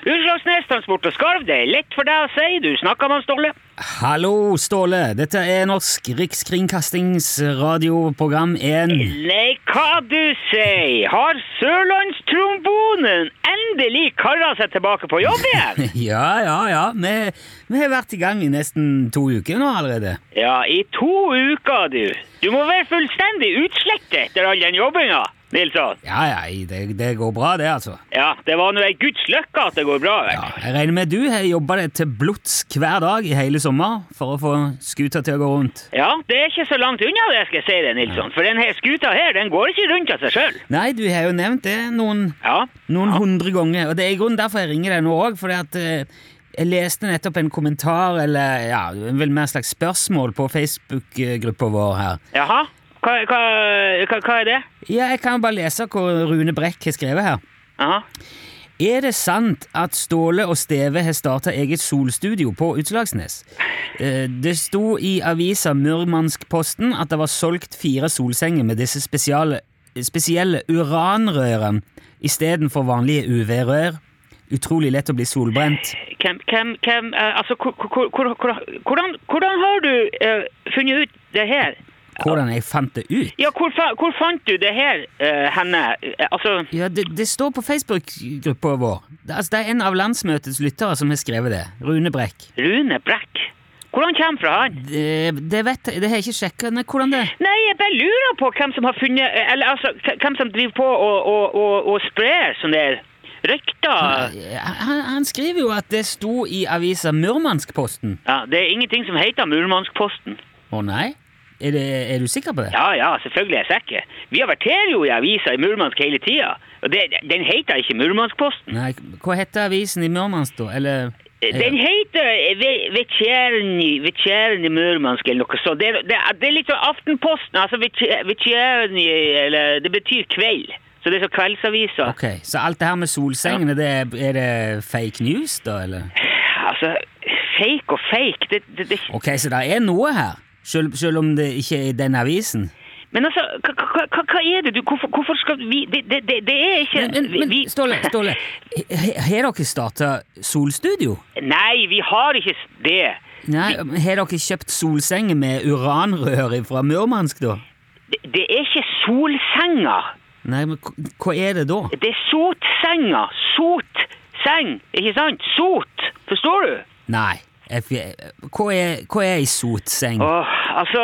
Utslagsnes Transport og Skarv, det er lett for deg å si. Du snakka med han Ståle. Hallo, Ståle. Dette er Norsk Rikskringkastingsradioprogram 1. Nei, hva du sier! Har Sørlandstrombone endelig kara seg tilbake på jobb igjen? Ja, ja, ja. Vi, vi har vært i gang i nesten to uker nå allerede. Ja, i to uker, du. Du må være fullstendig utslettet etter all den jobbinga, Nilsson. Ja, ja, det, det går bra, det, altså. Ja, det var nå ei guds lykke at det går bra. vel? Ja, jeg regner med du har jobba deg til blods hver dag i hele sommer for å få skuta til å gå rundt. Ja, det er ikke så langt unna det, skal jeg si det, Nilsson. For denne skuta her, den går ikke rundt av seg sjøl. Nei, du har jo nevnt det noen Ja. Noen hundre ganger. Og det er i grunnen derfor jeg ringer deg nå òg, fordi at eh, jeg leste nettopp en kommentar, eller ja, vel mer et slags spørsmål på Facebook-gruppa vår her. Jaha? Hva, hva, hva, hva er det? Ja, jeg kan jo bare lese hva Rune Brekk har skrevet her. Aha. Er det sant at Ståle og Steve har starta eget solstudio på Utslagsnes? Eh, Det sto i avisa Murmanskposten at det var solgt fire solsenger med disse spesiale, spesielle uranrørene istedenfor vanlige UV-rør. Utrolig lett å bli solbrent. Hvem, hvem, hvem eh, Altså, hvor, hvor, hvor, hvor, hvordan, hvordan har du eh, funnet ut det her? Hvordan jeg fant det ut? Ja, hvor, fa hvor fant du det her, eh, henne? Eh, altså Ja, Det, det står på Facebook-gruppa vår. Det, altså, det er en av landsmøtets lyttere som har skrevet det. Rune Brekk. Rune Brekk. Hvor han kommer fra, han? Det, det vet jeg, det har jeg ikke sjekka. Nei, hvordan det? Nei, jeg bare lurer på hvem som har funnet eh, Eller altså, hvem som driver på og, og, og, og sprer sånne der rykter. Han, han skriver jo at det sto i avisa Murmanskposten. Ja, det er ingenting som heter Murmanskposten. Å nei? Er, det, er du sikker på det? Ja, ja, selvfølgelig er jeg sikker. Vi averterer jo i avisa i Murmansk hele tida. Og det, den heter ikke Murmanskposten. Nei, hva heter avisen i Murmansk, da? Eller Eh, Den heter eh, Vetsjerni Murmansk eller noe sånt. Det, er- det, er- det er litt sånn Aftenposten. Altså Vetsjerni Eller det betyr kveld. Så det er sånn så kveldsavisa. Ok, Så alt det her med solsengene, det er, er det fake news, da, eller? Altså, fake og fake det, det, det, Ok, så det er noe her, selv, selv om det ikke er i den avisen? Men altså, hva, hva- hva, hva er det du Hvorfor, hvorfor skal vi Det, det, det, det er ikke Men, men, vi- men Ståle, Ståle, he- he- har dere starta solstudio? Nei, vi har ikke s- det. Nei, Har dere kjøpt solsenger med uranrør fra Murmansk, da? det. Det er ikke solsenger. Nei, men hva- hva er det da? Det er sotsenga. Sotseng, ikke sant? Sot. Forstår du? Nei. Jeg, jeg- hva, er, hva er ei sotseng? Åh, altså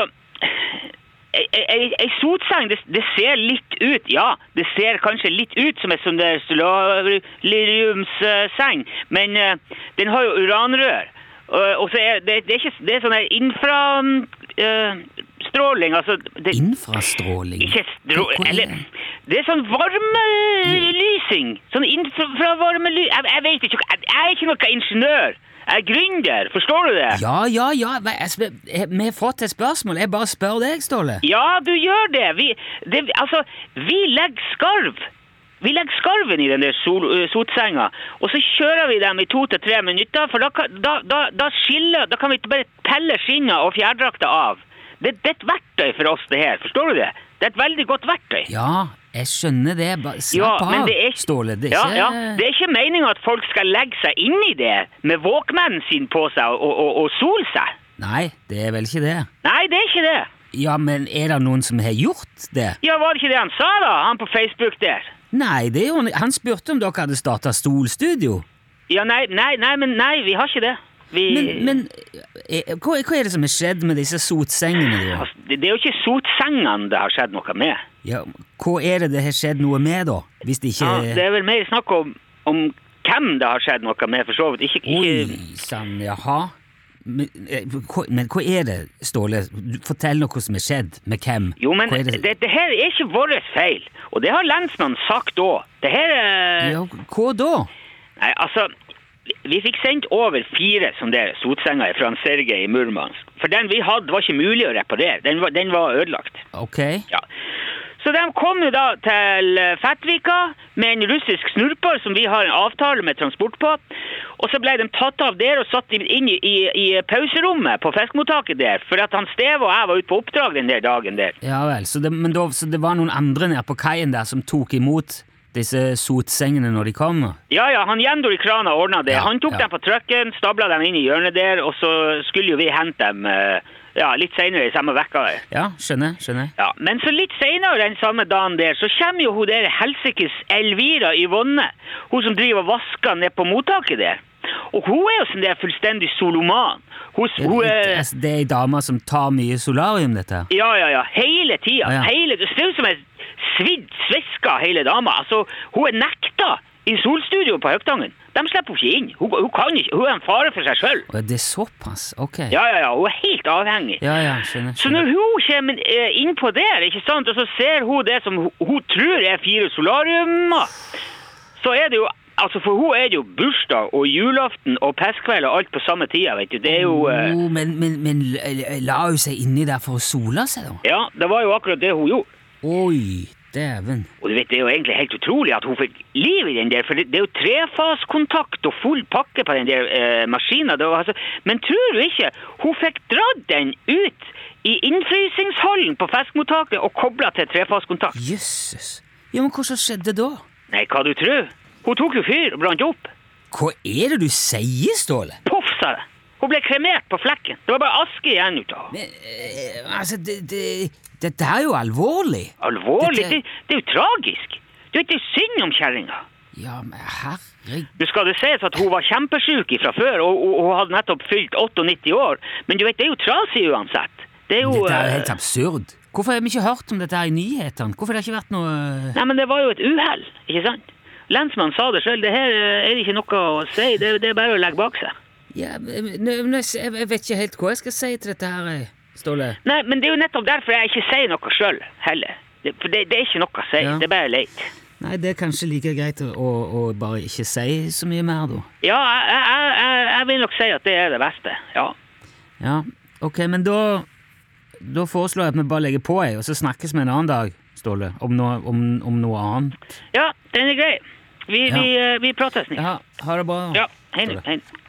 Ei, ei- ei, ei sotseng, det, det ser litt ut Ja, det ser kanskje litt ut som en sånn der solariumsseng, men eh, den har jo uranrør. Og- og så er det, det er ikke Det er sånn der infrastråling, altså det, Infrastråling? Ikke strå... Hva- hva er Eller det? Det er sånn varmelysing. Sånn infravarmelysing jeg, jeg vet ikke. Jeg, jeg er ikke noen ingeniør. Jeg er gründer. Forstår du det? Ja, ja, ja. hva- jeg spør- jeg- Vi har fått et spørsmål. Jeg bare spør deg, Ståle. Ja, du gjør det. Vi, det, altså, vi legger skarv. Vi legger skarven i den der sol, ø, sotsenga, og så kjører vi dem i to til tre minutter, for da kan, da, da, da skiller, da kan vi bare pelle skinnet og fjærdrakta av. Det, det er et verktøy for oss, det her. Forstår du det? Det er et veldig godt verktøy. Ja, jeg skjønner det. Bare slapp Ja, av, men det er ikke, Ståle. Det er ja, ikke ja, det er ikke meninga at folk skal legge seg inn i det med våkmennen sin på seg og, og, og sole seg. Nei, det er vel ikke det. Nei, det er ikke det. Ja, men er det noen som har gjort det? Ja, var det ikke det han sa, da? Han på Facebook der. Nei, det er jo Han spurte om dere hadde starta solstudio. Ja, nei, nei, nei, men nei, vi har ikke det. Vi, Men, men eh, hva, hva er det som har skjedd med disse sotsengene? da? altså, det, det er jo ikke sotsengene det har skjedd noe med. Ja, hva er det det har skjedd noe med, da? Hvis det ikke Ja, det er vel mer snakk om, om hvem det har skjedd noe med, for så vidt. Ikke, ikke, Oi sann, jaha. Men, eh, hva- men hva er det, Ståle? Du- Fortell noe som er skjedd. Med hvem? jo, men hva er det, det her er ikke vår feil, og det har lensmannen sagt òg. Det her er ja, Hva da? Nei, altså vi fikk sendt over fire sånne der sotsenger fra en Sergej i Murmansk. For den vi hadde, var ikke mulig å reparere. Den var, den var ødelagt. Ok. Ja. Så de kom jo da til eh, Fettvika med en russisk snurper som vi har en avtale med transport på. Og så ble de tatt av der og satt inn i, i, i pauserommet på fiskemottaket der. For at han Steve og jeg var ute på oppdrag den der dagen der. Ja vel. Så det, men da, så det var noen andre nede på kaien der som tok imot disse sotsengene når de kommer? Ja, ja, han Jendor i krana ordna det. Ja, han tok ja. dem på trucken, stabla dem inn i hjørnet der, og så skulle jo vi hente dem eh, ja, litt seinere i samme vekka. Ja, skjønner, skjønner. Ja, Men så litt seinere den samme dagen der, så kommer jo hun der helsikes Elvira Yvonne. Hun som driver og vasker ned på mottaket der. Og hun er jo sånn der fullstendig soloman. Hun, s- hun er Det det er ei dame som tar mye solarium, dette her. Ja, ja, ja. Hele tida. Ah, ja. Hele, det ser ut som ei svidd sveska, hele dama. Altså, hun er nekta i solstudio på Høgtangen. De slipper henne ikke inn. Hun, hun kan ikke. Hun er en fare for seg sjøl. Å, Det er såpass? Ok. Ja, ja, ja. Hun er helt avhengig. ja, ja, skjønner. Så når skjønner. hun kommer eh, innpå der, ikke sant, og så ser hun det som hun, hun tror er fire solariumer, så er det jo Altså, For hun er det jo bursdag og julaften og pestkveld og alt på samme tida, vet du. Det er jo eh, Jo, men, men, men la- la hun seg inni der for å sole seg, da? Ja, det var jo akkurat det hun gjorde. Oi, dæven. Og du vet, Det er jo egentlig helt utrolig at hun fikk liv i den der, for det, det er jo trefaskontakt og full pakke på den der eh, maskina. Det var Altså, men tror du ikke hun fikk dratt den ut i innfrysingshallen på fiskmottaket og kobla til trefaskontakt? Jøsses. Ja, men hva som skjedde da? Nei, hva du tror? Hun tok jo fyr og brant opp. Hva er det du sier, Ståle? Poff, sa det. Hun ble kremert på flekken. Det var bare aske igjen ut av henne. Men, eh, altså, det, det, dette er jo alvorlig. Alvorlig. Det, Dette- det er jo tragisk. Du vet, det er jo synd om kjerringa. Ja, men herregud. Nå skal det sies at hun var kjempesjuk fra før, og, og, og hun hadde nettopp fylt 98 år. Men du vet, det er jo trasig uansett. Det er jo... Dette er jo eh, helt absurd. Hvorfor har vi ikke hørt om dette her i nyhetene? Hvorfor har det ikke vært noe eh, Nei, men det var jo et uhell, ikke sant? Lensmannen sa det selv, det her eh, er ikke noe å si, det, det er bare å legge bak seg. Ja, men- men jeg jeg vet ikke helt hva jeg skal si til dette her, eh, Ståle. Nei, men det er jo nettopp derfor jeg ikke sier noe selv, heller. Det, for det, det er ikke noe å si, Ja. det er bare leit. Nei, det er kanskje like greit å, å, å bare ikke si så mye mer, da. Ja, jeg, jeg, jeg, jeg vil nok si at det er det beste, ja. Ja, ok, men da Da foreslår jeg at vi bare legger på ei, og så snakkes vi en annen dag, Ståle, om noe, om, om noe annet. Ja, den er grei. Vi, Ja. vi, eh, vi prates, Nick. Ja, ha det bra. Ja, hei nå, Ståle. hei nå.